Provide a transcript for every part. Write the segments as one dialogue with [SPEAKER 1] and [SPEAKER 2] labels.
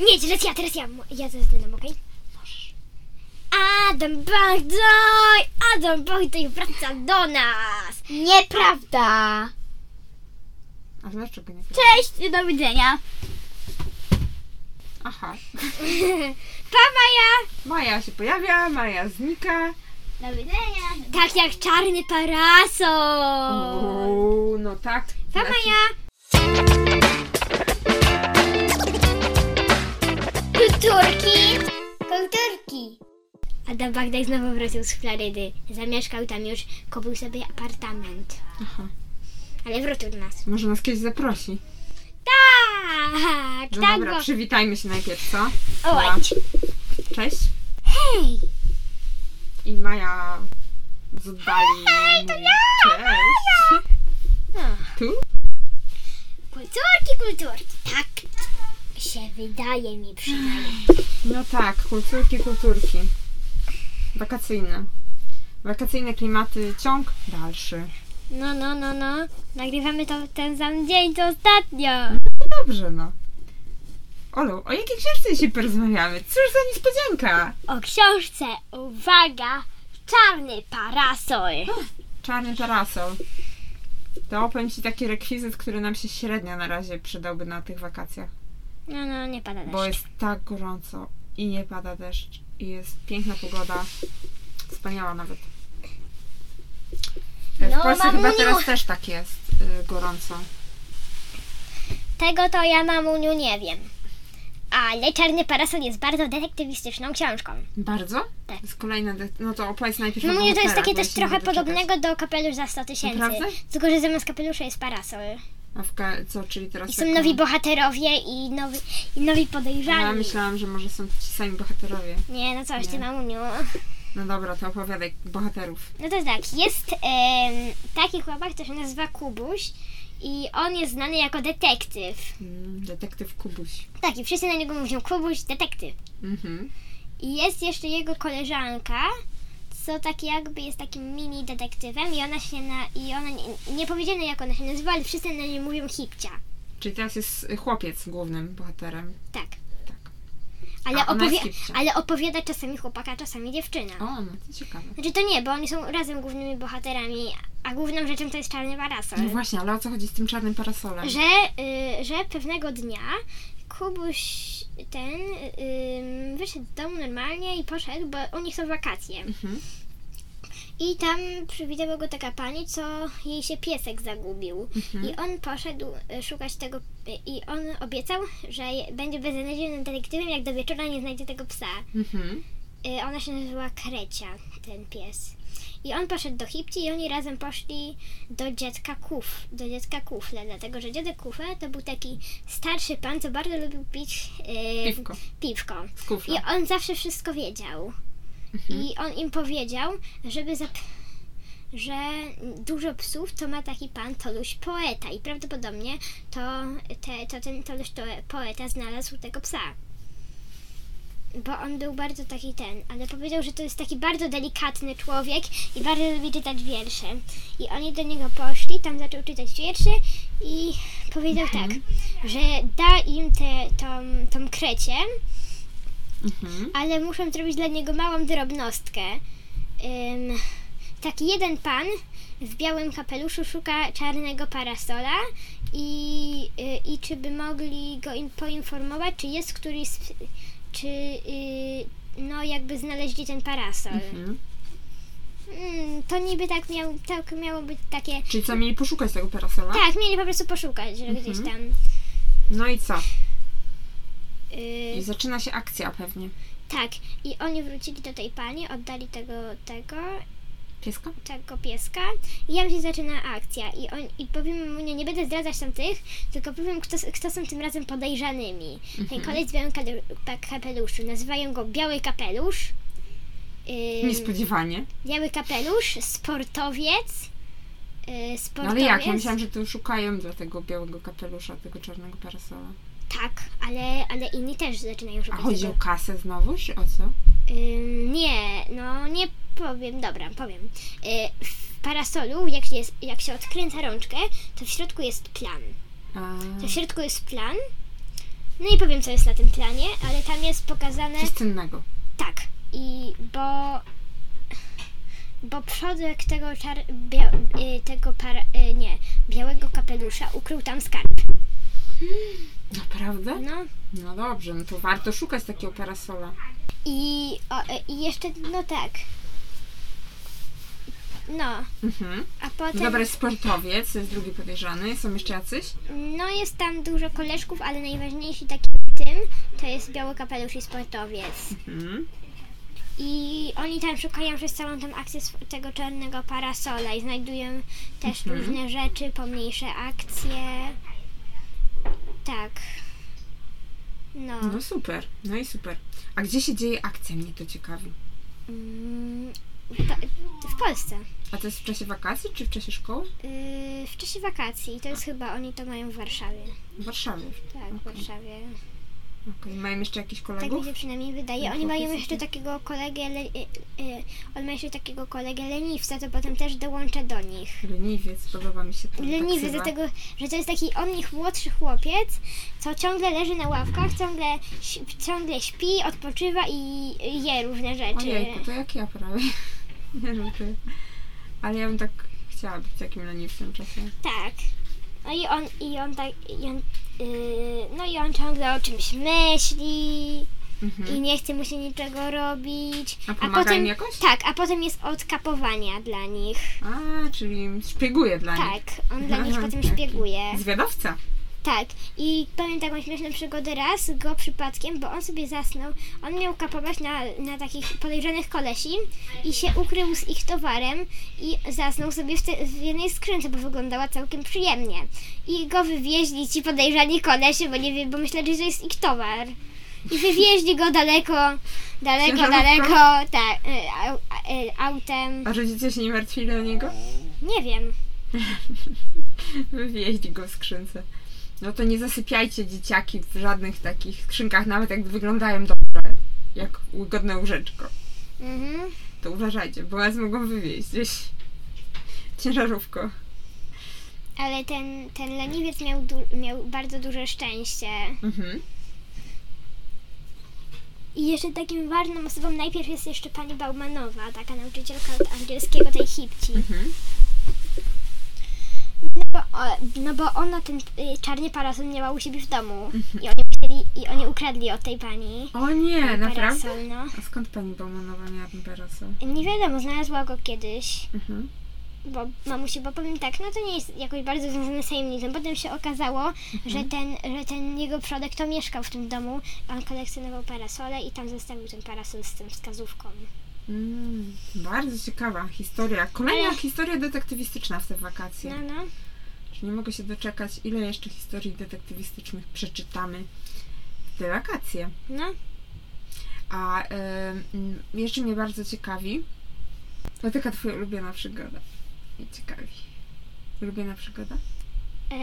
[SPEAKER 1] Nie, teraz ja, teraz ja. Ja zazdynam, okej?
[SPEAKER 2] Możesz.
[SPEAKER 1] Adam Bagdoj! Adam Bagdoj wraca do nas!
[SPEAKER 2] Nieprawda! A dlaczego nie?
[SPEAKER 1] Cześć, do widzenia.
[SPEAKER 2] Aha.
[SPEAKER 1] Pa Maja!
[SPEAKER 2] Maja się pojawia, Maja znika.
[SPEAKER 1] Do widzenia. Tak jak czarny parasol.
[SPEAKER 2] Uuu, no tak.
[SPEAKER 1] Pa Maja! Kulturki! Kulturki! Adam Bagdaj znowu wrócił z Florydy. Zamieszkał tam już, kupił sobie apartament.
[SPEAKER 2] Aha.
[SPEAKER 1] Ale wrócił do nas.
[SPEAKER 2] Może nas kiedyś zaprosi.
[SPEAKER 1] Tak!
[SPEAKER 2] No
[SPEAKER 1] tak
[SPEAKER 2] dobra,
[SPEAKER 1] go.
[SPEAKER 2] przywitajmy się najpierw, co?
[SPEAKER 1] Oj.
[SPEAKER 2] Cześć.
[SPEAKER 1] Hej!
[SPEAKER 2] I Maja z oddali.
[SPEAKER 1] Hej, to
[SPEAKER 2] mówi,
[SPEAKER 1] ja,
[SPEAKER 2] Cześć.
[SPEAKER 1] No.
[SPEAKER 2] Tu?
[SPEAKER 1] Kulturki, kulturki. Tak się wydaje mi przynajmniej.
[SPEAKER 2] No tak, kulturki, kulturki. Wakacyjne. Wakacyjne klimaty, ciąg dalszy.
[SPEAKER 1] No, no, no, no. Nagrywamy to w ten sam dzień, co ostatnio.
[SPEAKER 2] Dobrze, no. Olu, o jakiej książce dzisiaj porozmawiamy? Cóż za niespodzianka!
[SPEAKER 1] O książce, uwaga, czarny parasol.
[SPEAKER 2] Czarny parasol. To powiem Ci taki rekwizyt, który nam się średnio na razie przydałby na tych wakacjach.
[SPEAKER 1] No, no, nie pada
[SPEAKER 2] Bo
[SPEAKER 1] deszcz.
[SPEAKER 2] jest tak gorąco i nie pada deszcz. I jest piękna pogoda. Wspaniała nawet. W
[SPEAKER 1] No,
[SPEAKER 2] Polsce chyba
[SPEAKER 1] mamuniu.
[SPEAKER 2] teraz też tak jest y, gorąco.
[SPEAKER 1] Tego to ja, mamuniu, nie wiem. Ale Czarny Parasol jest bardzo detektywistyczną książką.
[SPEAKER 2] Bardzo?
[SPEAKER 1] Tak.
[SPEAKER 2] To jest kolejna... De- no to opowiedz najpierw
[SPEAKER 1] No
[SPEAKER 2] o
[SPEAKER 1] mówię, to jest
[SPEAKER 2] bohaterach,
[SPEAKER 1] takie
[SPEAKER 2] bo ja
[SPEAKER 1] też
[SPEAKER 2] się nie
[SPEAKER 1] trochę
[SPEAKER 2] mogę doczekać.
[SPEAKER 1] podobnego do kapelusz za 100 tysięcy.
[SPEAKER 2] Naprawdę?
[SPEAKER 1] Tylko, że zamiast kapelusza jest parasol.
[SPEAKER 2] A w ka- co, czyli teraz...
[SPEAKER 1] I są
[SPEAKER 2] jak-
[SPEAKER 1] nowi bohaterowie i nowi, i nowi podejrzani.
[SPEAKER 2] Ja myślałam, że może są ci sami bohaterowie.
[SPEAKER 1] Nie, no coś ty,
[SPEAKER 2] Nie.
[SPEAKER 1] mamuniu.
[SPEAKER 2] No dobra, to opowiadaj bohaterów.
[SPEAKER 1] No to tak, jest em, taki chłopak, który się nazywa Kubuś i on jest znany jako detektyw.
[SPEAKER 2] Mm, Detektyw Kubuś.
[SPEAKER 1] Tak, i wszyscy na niego mówią Kubuś, detektyw.
[SPEAKER 2] Mhm.
[SPEAKER 1] I jest jeszcze jego koleżanka, co tak jakby jest takim mini detektywem i ona się na... i ona nie, nie powiedziane jak ona się nazywa, ale wszyscy na nią mówią Hipcia.
[SPEAKER 2] Czyli teraz jest y, chłopiec głównym bohaterem.
[SPEAKER 1] Tak.
[SPEAKER 2] Tak.
[SPEAKER 1] Ale,
[SPEAKER 2] A, ona jest
[SPEAKER 1] opowie-
[SPEAKER 2] Hipcia.
[SPEAKER 1] ale opowiada czasami chłopaka, czasami dziewczyna.
[SPEAKER 2] O, no to ciekawe.
[SPEAKER 1] Znaczy to nie, bo oni są razem głównymi bohaterami, a główną rzeczą to jest czarny parasol.
[SPEAKER 2] No właśnie, ale o co chodzi z tym czarnym parasolem?
[SPEAKER 1] Że, y, że pewnego dnia Kubuś ten y, wyszedł z domu normalnie i poszedł, bo u nich są wakacje.
[SPEAKER 2] Mhm.
[SPEAKER 1] I tam przywitała go taka pani, co jej się piesek zagubił. I on poszedł y, szukać tego y, i on obiecał, że je- będzie beznadziejnym detektywem, jak do wieczora nie znajdzie tego psa.
[SPEAKER 2] Mhm.
[SPEAKER 1] Y, Ona się nazywała Krecia, ten pies. I on poszedł do Hipci i oni razem poszli do dziadka Kuf, do dziadka Kufle, dlatego że dziadek Kufle to był taki starszy pan, co bardzo lubił pić y,
[SPEAKER 2] Piwko.
[SPEAKER 1] piwko.
[SPEAKER 2] Z
[SPEAKER 1] I
[SPEAKER 2] kufla.
[SPEAKER 1] on zawsze wszystko wiedział. I on im powiedział, żeby zap... że dużo psów to ma taki pan Toluś Poeta i prawdopodobnie to, te, to ten Toluś to- Poeta znalazł tego psa. Bo on był bardzo taki ten, ale powiedział, że to jest taki bardzo delikatny człowiek i bardzo lubi czytać wiersze. I oni do niego poszli, tam zaczął czytać wiersze i powiedział tak, że da im tę tą, tą krecię,
[SPEAKER 2] Mhm.
[SPEAKER 1] ale muszę zrobić dla niego małą drobnostkę. Ym, taki jeden pan w białym kapeluszu szuka czarnego parasola i, y, i czy by mogli go in, poinformować, czy jest któryś, z- czy y, no jakby znaleźli ten parasol.
[SPEAKER 2] Mhm.
[SPEAKER 1] Mm, to niby tak, miał, tak miało być takie...
[SPEAKER 2] Czyli co, mieli poszukać tego parasola?
[SPEAKER 1] Tak, mieli po prostu poszukać, że gdzieś
[SPEAKER 2] Mhm.
[SPEAKER 1] tam...
[SPEAKER 2] No i co?
[SPEAKER 1] y,
[SPEAKER 2] I zaczyna się akcja pewnie.
[SPEAKER 1] tak, i oni wrócili do tej pani, oddali tego, tego
[SPEAKER 2] Pieska?
[SPEAKER 1] tego pieska i ja się zaczyna akcja i, on, i powiem mu, nie, nie będę zdradzać tam tych, tylko powiem, kto, s- kto są tym razem podejrzanymi.
[SPEAKER 2] Mhm.
[SPEAKER 1] Ten koleś w białym kade- pa- kapeluszu, nazywają go Biały Kapelusz, ym,
[SPEAKER 2] Niespodziewanie.
[SPEAKER 1] Biały Kapelusz, sportowiec, yy,
[SPEAKER 2] No
[SPEAKER 1] sportowiec,
[SPEAKER 2] ale jak? Ja myślałam, że tu szukają dla tego białego kapelusza, tego czarnego parasola.
[SPEAKER 1] tak, ale, ale inni też zaczynają
[SPEAKER 2] A
[SPEAKER 1] szukać
[SPEAKER 2] chodzi o
[SPEAKER 1] tego.
[SPEAKER 2] kasę znowu, czy o co?
[SPEAKER 1] Ym, nie, no nie powiem, dobra, powiem. Yy, w parasolu, jak się, jest, jak się odkręca rączkę, to w środku jest plan.
[SPEAKER 2] A,
[SPEAKER 1] To w środku jest plan No i powiem, co jest na tym planie, ale tam jest pokazane.
[SPEAKER 2] Coś cennego.
[SPEAKER 1] Tak. I bo. Bo przodek tego czar... Bia... y, tego par... y, nie, białego kapelusza ukrył tam skarb.
[SPEAKER 2] Naprawdę?
[SPEAKER 1] No.
[SPEAKER 2] No dobrze, no to warto szukać takiego parasola.
[SPEAKER 1] I, o, y, i jeszcze, no tak. No,
[SPEAKER 2] Mhm.
[SPEAKER 1] a potem.
[SPEAKER 2] Dobra, jest sportowiec, jest drugi podejrzany. Są jeszcze jacyś?
[SPEAKER 1] No jest tam dużo koleżków, ale najważniejsi takim tym to jest biały kapelusz i sportowiec.
[SPEAKER 2] Mhm.
[SPEAKER 1] I oni tam szukają przez całą tą akcję sw- tego czarnego parasola i znajdują też
[SPEAKER 2] Mhm.
[SPEAKER 1] różne rzeczy, pomniejsze akcje. Tak. No.
[SPEAKER 2] No super, no i super. A gdzie się dzieje akcja? Mnie to ciekawi.
[SPEAKER 1] Mm, to- w Polsce.
[SPEAKER 2] A to jest w czasie wakacji czy w czasie szkoły?
[SPEAKER 1] Yy, w czasie wakacji. To jest chyba, oni to mają w Warszawie.
[SPEAKER 2] W Warszawie.
[SPEAKER 1] Tak, w Warszawie.
[SPEAKER 2] Okej, Mają jeszcze jakichś
[SPEAKER 1] Tak mi
[SPEAKER 2] kolegów?
[SPEAKER 1] się przynajmniej wydaje.
[SPEAKER 2] Tak,
[SPEAKER 1] Oni mają
[SPEAKER 2] chłopcy
[SPEAKER 1] jeszcze
[SPEAKER 2] sobie-
[SPEAKER 1] takiego kolegę, le, y, y, on ma jeszcze takiego kolegę leniwca, to potem też dołącza do nich.
[SPEAKER 2] Leniwiec, podoba mi się to. tak
[SPEAKER 1] Leniwy, dlatego, że to jest taki od nich młodszy chłopiec, co ciągle leży na ławkach, ciągle, ś- ciągle śpi, odpoczywa i je różne rzeczy.
[SPEAKER 2] Ojejku, to jak ja prawie. Nie żartuję. Ale ja bym tak chciała być takim leniwcem czasem.
[SPEAKER 1] Tak. No i on, i on tak, i on, y, no i on ciągle o czymś myśli
[SPEAKER 2] Mhm.
[SPEAKER 1] i nie chce mu się niczego robić.
[SPEAKER 2] A pomaga im jakoś?
[SPEAKER 1] Tak, a potem jest od kapowania dla nich.
[SPEAKER 2] A, czyli szpieguje dla nich.
[SPEAKER 1] Tak, on dla nich
[SPEAKER 2] Aha,
[SPEAKER 1] potem
[SPEAKER 2] taki.
[SPEAKER 1] szpieguje.
[SPEAKER 2] Zwiadowca.
[SPEAKER 1] Tak, i pamiętam taką śmieszną przygodę raz, go przypadkiem, bo on sobie zasnął. On miał kapować na, na takich podejrzanych kolesi i się ukrył z ich towarem i zasnął sobie w, te, w jednej skrzynce, bo wyglądała całkiem przyjemnie. I go wywieźli ci podejrzani kolesi, bo nie wiem, bo myśleli, że jest ich towar. I wywieźli go daleko, daleko,
[SPEAKER 2] Ciężarówką?
[SPEAKER 1] daleko, tak, y, au, y, autem.
[SPEAKER 2] A rodzice się nie martwili o niego?
[SPEAKER 1] Nie wiem.
[SPEAKER 2] Wywieźli go w skrzynce. No to nie zasypiajcie dzieciaki w żadnych takich skrzynkach, nawet jak wyglądają dobrze, jak godne łóżeczko.
[SPEAKER 1] Mhm.
[SPEAKER 2] To uważajcie, bo was mogą wywieźć gdzieś ciężarówko.
[SPEAKER 1] Ale ten, ten leniwiec miał, du- miał bardzo duże szczęście.
[SPEAKER 2] Mhm.
[SPEAKER 1] I jeszcze takim ważną osobą najpierw jest jeszcze pani Baumanowa, taka nauczycielka od angielskiego tej hipci.
[SPEAKER 2] Mhm.
[SPEAKER 1] Bo, o, no bo ona ten y, czarny parasol miała u siebie w domu. I oni, chcieli, I oni ukradli od tej pani
[SPEAKER 2] O Mhm. nie, naprawdę?
[SPEAKER 1] parasol, no.
[SPEAKER 2] A skąd pani Baumanowa miała ten parasol?
[SPEAKER 1] Nie wiadomo, znalazła go kiedyś,
[SPEAKER 2] Mhm.
[SPEAKER 1] bo mamusi, bo powiem tak, no to nie jest jakoś bardzo związane z tajemnicą. Potem się okazało,
[SPEAKER 2] Mhm.
[SPEAKER 1] że, ten, że ten jego przodek to mieszkał w tym domu, on kolekcjonował parasole i tam zostawił ten parasol z tym wskazówką.
[SPEAKER 2] Mm, bardzo ciekawa historia. Kolejna
[SPEAKER 1] Ale-
[SPEAKER 2] historia detektywistyczna w te wakacje.
[SPEAKER 1] No, no.
[SPEAKER 2] Czy Nie mogę się doczekać, ile jeszcze historii detektywistycznych przeczytamy w te wakacje.
[SPEAKER 1] No,
[SPEAKER 2] A y, mm, jeszcze mnie bardzo ciekawi, to taka twoja ulubiona przygoda. Mnie ciekawi. Ulubiona przygoda?
[SPEAKER 1] Em,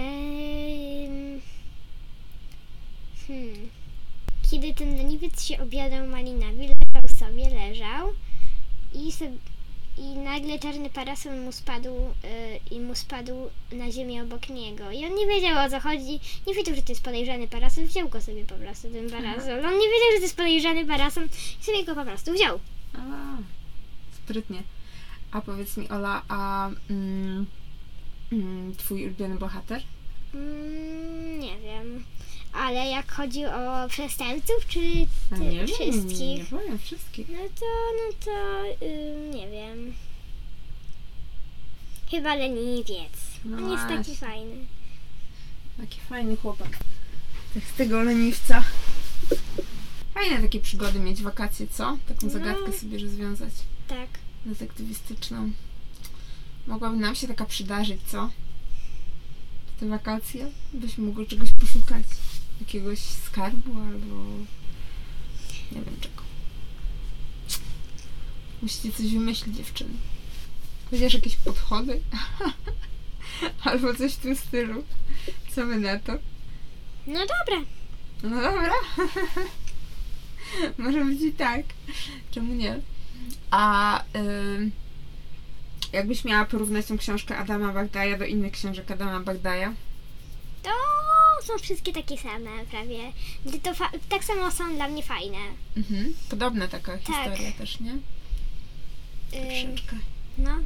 [SPEAKER 1] hmm. Kiedy ten leniwiec się objadał malinami, leżał sobie, leżał i, se, i nagle czarny parasol mu spadł y, i mu spadł na ziemię obok niego. I on nie wiedział o co chodzi, nie wiedział, że to jest podejrzany parasol, wziął go sobie po prostu, ten parasol. On nie wiedział, że to jest podejrzany parasol i sobie go po prostu wziął.
[SPEAKER 2] A, sprytnie. A powiedz mi, Ola, a mm, mm, twój ulubiony bohater?
[SPEAKER 1] Mm, nie wiem, ale jak chodzi o przestępców, czy
[SPEAKER 2] A
[SPEAKER 1] Ty-
[SPEAKER 2] nie Wiem, nie
[SPEAKER 1] wszystkich.
[SPEAKER 2] powiem wszystkich.
[SPEAKER 1] No to, no to, ym, nie wiem. Chyba leniwiec.
[SPEAKER 2] No
[SPEAKER 1] On jest taki
[SPEAKER 2] właśnie.
[SPEAKER 1] fajny.
[SPEAKER 2] Taki fajny chłopak. Tak z tego leniwca. Fajne takie przygody mieć wakacje, co? Taką
[SPEAKER 1] No.
[SPEAKER 2] zagadkę sobie rozwiązać
[SPEAKER 1] Tak.
[SPEAKER 2] detektywistyczną. Mogłaby nam się taka przydarzyć, co? W te wakacje byśmy mogły czegoś poszukać. Jakiegoś skarbu albo nie wiem czego. Musicie coś wymyślić, dziewczyny. Chociaż jakieś podchody albo coś w tym stylu. Co wy na to?
[SPEAKER 1] No dobra.
[SPEAKER 2] No dobra. Może być i tak. Czemu nie? A ym, jakbyś miała porównać tą książkę Adama Bagdaja do innych książek Adama Bagdaja?
[SPEAKER 1] To są wszystkie takie same prawie. Gdy to fa- tak samo są dla mnie fajne.
[SPEAKER 2] Mhm. Podobna taka historia też, nie?
[SPEAKER 1] Ym,
[SPEAKER 2] Troszeczkę.
[SPEAKER 1] no.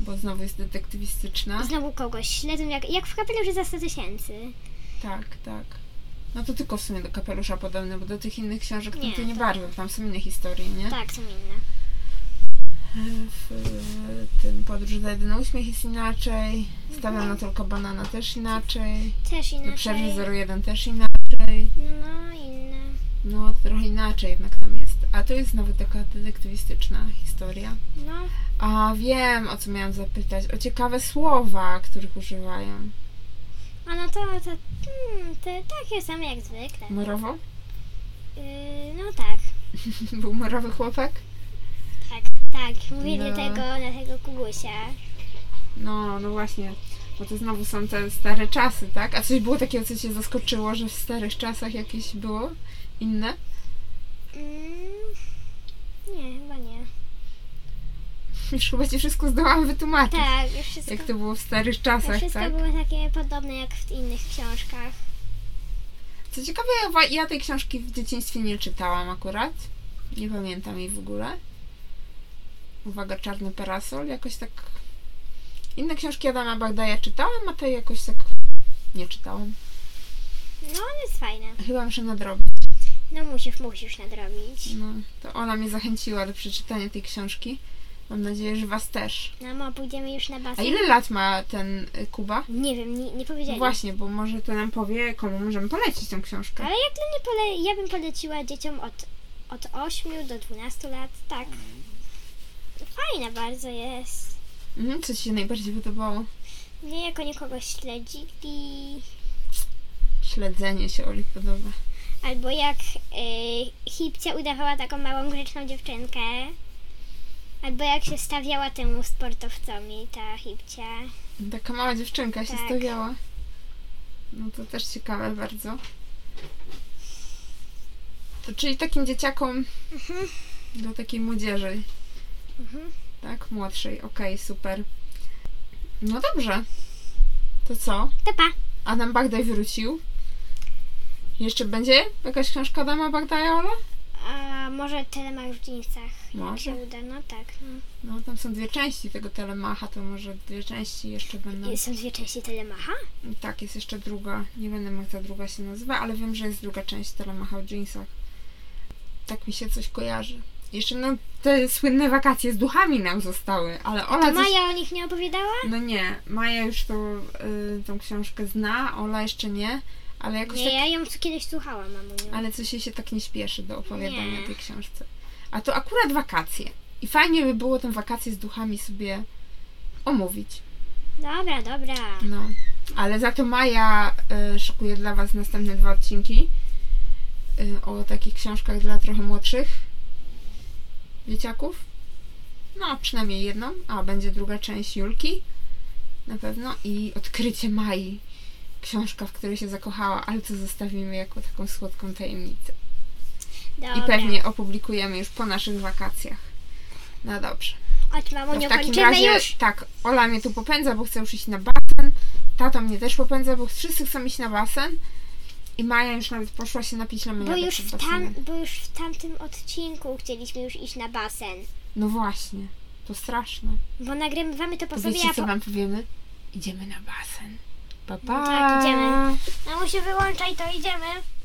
[SPEAKER 2] Bo znowu jest detektywistyczna.
[SPEAKER 1] Znowu kogoś śledzą, jak, jak w kapeluszy za 100 tysięcy.
[SPEAKER 2] Tak, tak. No to tylko w sumie do kapelusza podobne, bo do tych innych książek to
[SPEAKER 1] Nie,
[SPEAKER 2] ty nie
[SPEAKER 1] tak.
[SPEAKER 2] bardzo, tam są inne historie, nie?
[SPEAKER 1] Tak, są inne.
[SPEAKER 2] W e, tym podróż za jeden uśmiech jest inaczej, stawiam na tylko banana też inaczej,
[SPEAKER 1] Też
[SPEAKER 2] do przerwy
[SPEAKER 1] inaczej.
[SPEAKER 2] 01 też inaczej.
[SPEAKER 1] No, inne.
[SPEAKER 2] No, to trochę inaczej jednak tam jest. A to jest znowu taka detektywistyczna historia.
[SPEAKER 1] No,
[SPEAKER 2] A wiem, o co miałam zapytać. O ciekawe słowa, których używają.
[SPEAKER 1] a no to, to, hmm, te takie same jak zwykle.
[SPEAKER 2] Morowo?
[SPEAKER 1] Yy, no tak,
[SPEAKER 2] Był morowy chłopak?
[SPEAKER 1] tak, tak. Mówili
[SPEAKER 2] No.
[SPEAKER 1] tego na tego Kubusia.
[SPEAKER 2] No, no właśnie. Bo to znowu są te stare czasy, tak? A coś było takiego, co cię zaskoczyło, że w starych czasach jakieś było inne?
[SPEAKER 1] Mm, nie, chyba nie.
[SPEAKER 2] Już chyba ci wszystko zdołam wytłumaczyć.
[SPEAKER 1] Tak, już wszystko,
[SPEAKER 2] Jak to było w starych
[SPEAKER 1] już
[SPEAKER 2] czasach,
[SPEAKER 1] wszystko
[SPEAKER 2] tak?
[SPEAKER 1] było takie podobne jak w innych książkach.
[SPEAKER 2] Co ciekawe, ja wa- ja tej książki w dzieciństwie nie czytałam akurat. Nie pamiętam jej w ogóle. Uwaga, czarny parasol. Jakoś tak. Inne książki Adama Bagdaja czytałam, a tej jakoś tak nie czytałam.
[SPEAKER 1] No, on jest fajne.
[SPEAKER 2] Chyba muszę nadrobić.
[SPEAKER 1] No musisz, musisz nadrobić.
[SPEAKER 2] No, to ona mnie zachęciła do przeczytania tej książki. Mam nadzieję, że Was też.
[SPEAKER 1] No, ma, pójdziemy już na
[SPEAKER 2] A
[SPEAKER 1] basen.
[SPEAKER 2] ile lat ma ten y, Kuba?
[SPEAKER 1] Nie wiem, nie, nie powiedzieli.
[SPEAKER 2] Właśnie, bo może to nam powie, komu możemy polecić tę książkę.
[SPEAKER 1] Ale jak dla mnie pole... ja bym poleciła dzieciom od, od 8 do 12 lat, tak.
[SPEAKER 2] Mm.
[SPEAKER 1] Fajna bardzo jest.
[SPEAKER 2] Mhm, co Ci się najbardziej podobało?
[SPEAKER 1] Mnie jako nie kogoś śledzili,
[SPEAKER 2] Śledzenie się Oli podoba.
[SPEAKER 1] albo jak y, Hipcia udawała taką małą grzeczną dziewczynkę, albo jak się stawiała temu sportowcowi ta Hipcia.
[SPEAKER 2] Taka mała dziewczynka się
[SPEAKER 1] Tak.
[SPEAKER 2] stawiała. No to też ciekawe bardzo. To czyli takim dzieciakom do takiej młodzieży,
[SPEAKER 1] Mhm.
[SPEAKER 2] tak? Młodszej. Okej, super. No dobrze. To co?
[SPEAKER 1] To pa!
[SPEAKER 2] Adam Bagdaj wrócił. Jeszcze będzie jakaś książka Adama Bagdaja, Ola?
[SPEAKER 1] A może telemach w dżinsach
[SPEAKER 2] Może.
[SPEAKER 1] się uda, no tak. No.
[SPEAKER 2] No tam są dwie części tego Telemacha, to może dwie części jeszcze będą.
[SPEAKER 1] Są dwie części telemacha?
[SPEAKER 2] Tak, jest jeszcze druga. Nie będę jak ta druga się nazywa, ale wiem, że jest druga część Telemacha o jeansach. Tak mi się coś kojarzy. Jeszcze no, te słynne wakacje z duchami nam zostały, ale Ola
[SPEAKER 1] To
[SPEAKER 2] coś...
[SPEAKER 1] Maja o nich nie opowiadała?
[SPEAKER 2] No nie, Maja już tą, y, tą książkę zna, Ola jeszcze nie, ale jakoś
[SPEAKER 1] Nie,
[SPEAKER 2] tak...
[SPEAKER 1] ja ją kiedyś słuchałam, mamuniu.
[SPEAKER 2] Ale coś jej się tak nie śpieszy do opowiadania
[SPEAKER 1] Nie.
[SPEAKER 2] tej książce. A to akurat wakacje. I fajnie by było te wakacje z duchami sobie omówić.
[SPEAKER 1] Dobra, dobra.
[SPEAKER 2] No, ale za to Maja y, szykuje dla Was następne dwa odcinki y, o takich książkach dla trochę młodszych dzieciaków. No, a przynajmniej jedną, a będzie druga część Julki na pewno i odkrycie Mai. Książka, w której się zakochała, ale to zostawimy jako taką słodką tajemnicę.
[SPEAKER 1] Dobra.
[SPEAKER 2] I pewnie opublikujemy już po naszych wakacjach. No dobrze.
[SPEAKER 1] Chodź,
[SPEAKER 2] To
[SPEAKER 1] mamuniu,
[SPEAKER 2] w takim
[SPEAKER 1] kończymy
[SPEAKER 2] razie,
[SPEAKER 1] już.
[SPEAKER 2] tak, Ola mnie tu popędza, bo chce już iść na basen, tata mnie też popędza, bo wszyscy chcą iść na basen i Maja już nawet poszła się napić
[SPEAKER 1] Bo
[SPEAKER 2] lemoniady
[SPEAKER 1] już,
[SPEAKER 2] przed
[SPEAKER 1] w tam,
[SPEAKER 2] basenem.
[SPEAKER 1] bo już w tamtym odcinku chcieliśmy już iść na basen.
[SPEAKER 2] No właśnie, to straszne.
[SPEAKER 1] Bo nagrywamy No to po
[SPEAKER 2] To
[SPEAKER 1] sobie,
[SPEAKER 2] wiecie,
[SPEAKER 1] a
[SPEAKER 2] co
[SPEAKER 1] po... No
[SPEAKER 2] wam powiemy? Idziemy na basen. Pa, pa.
[SPEAKER 1] tak, idziemy. Mamusiu, No, wyłączaj to, idziemy.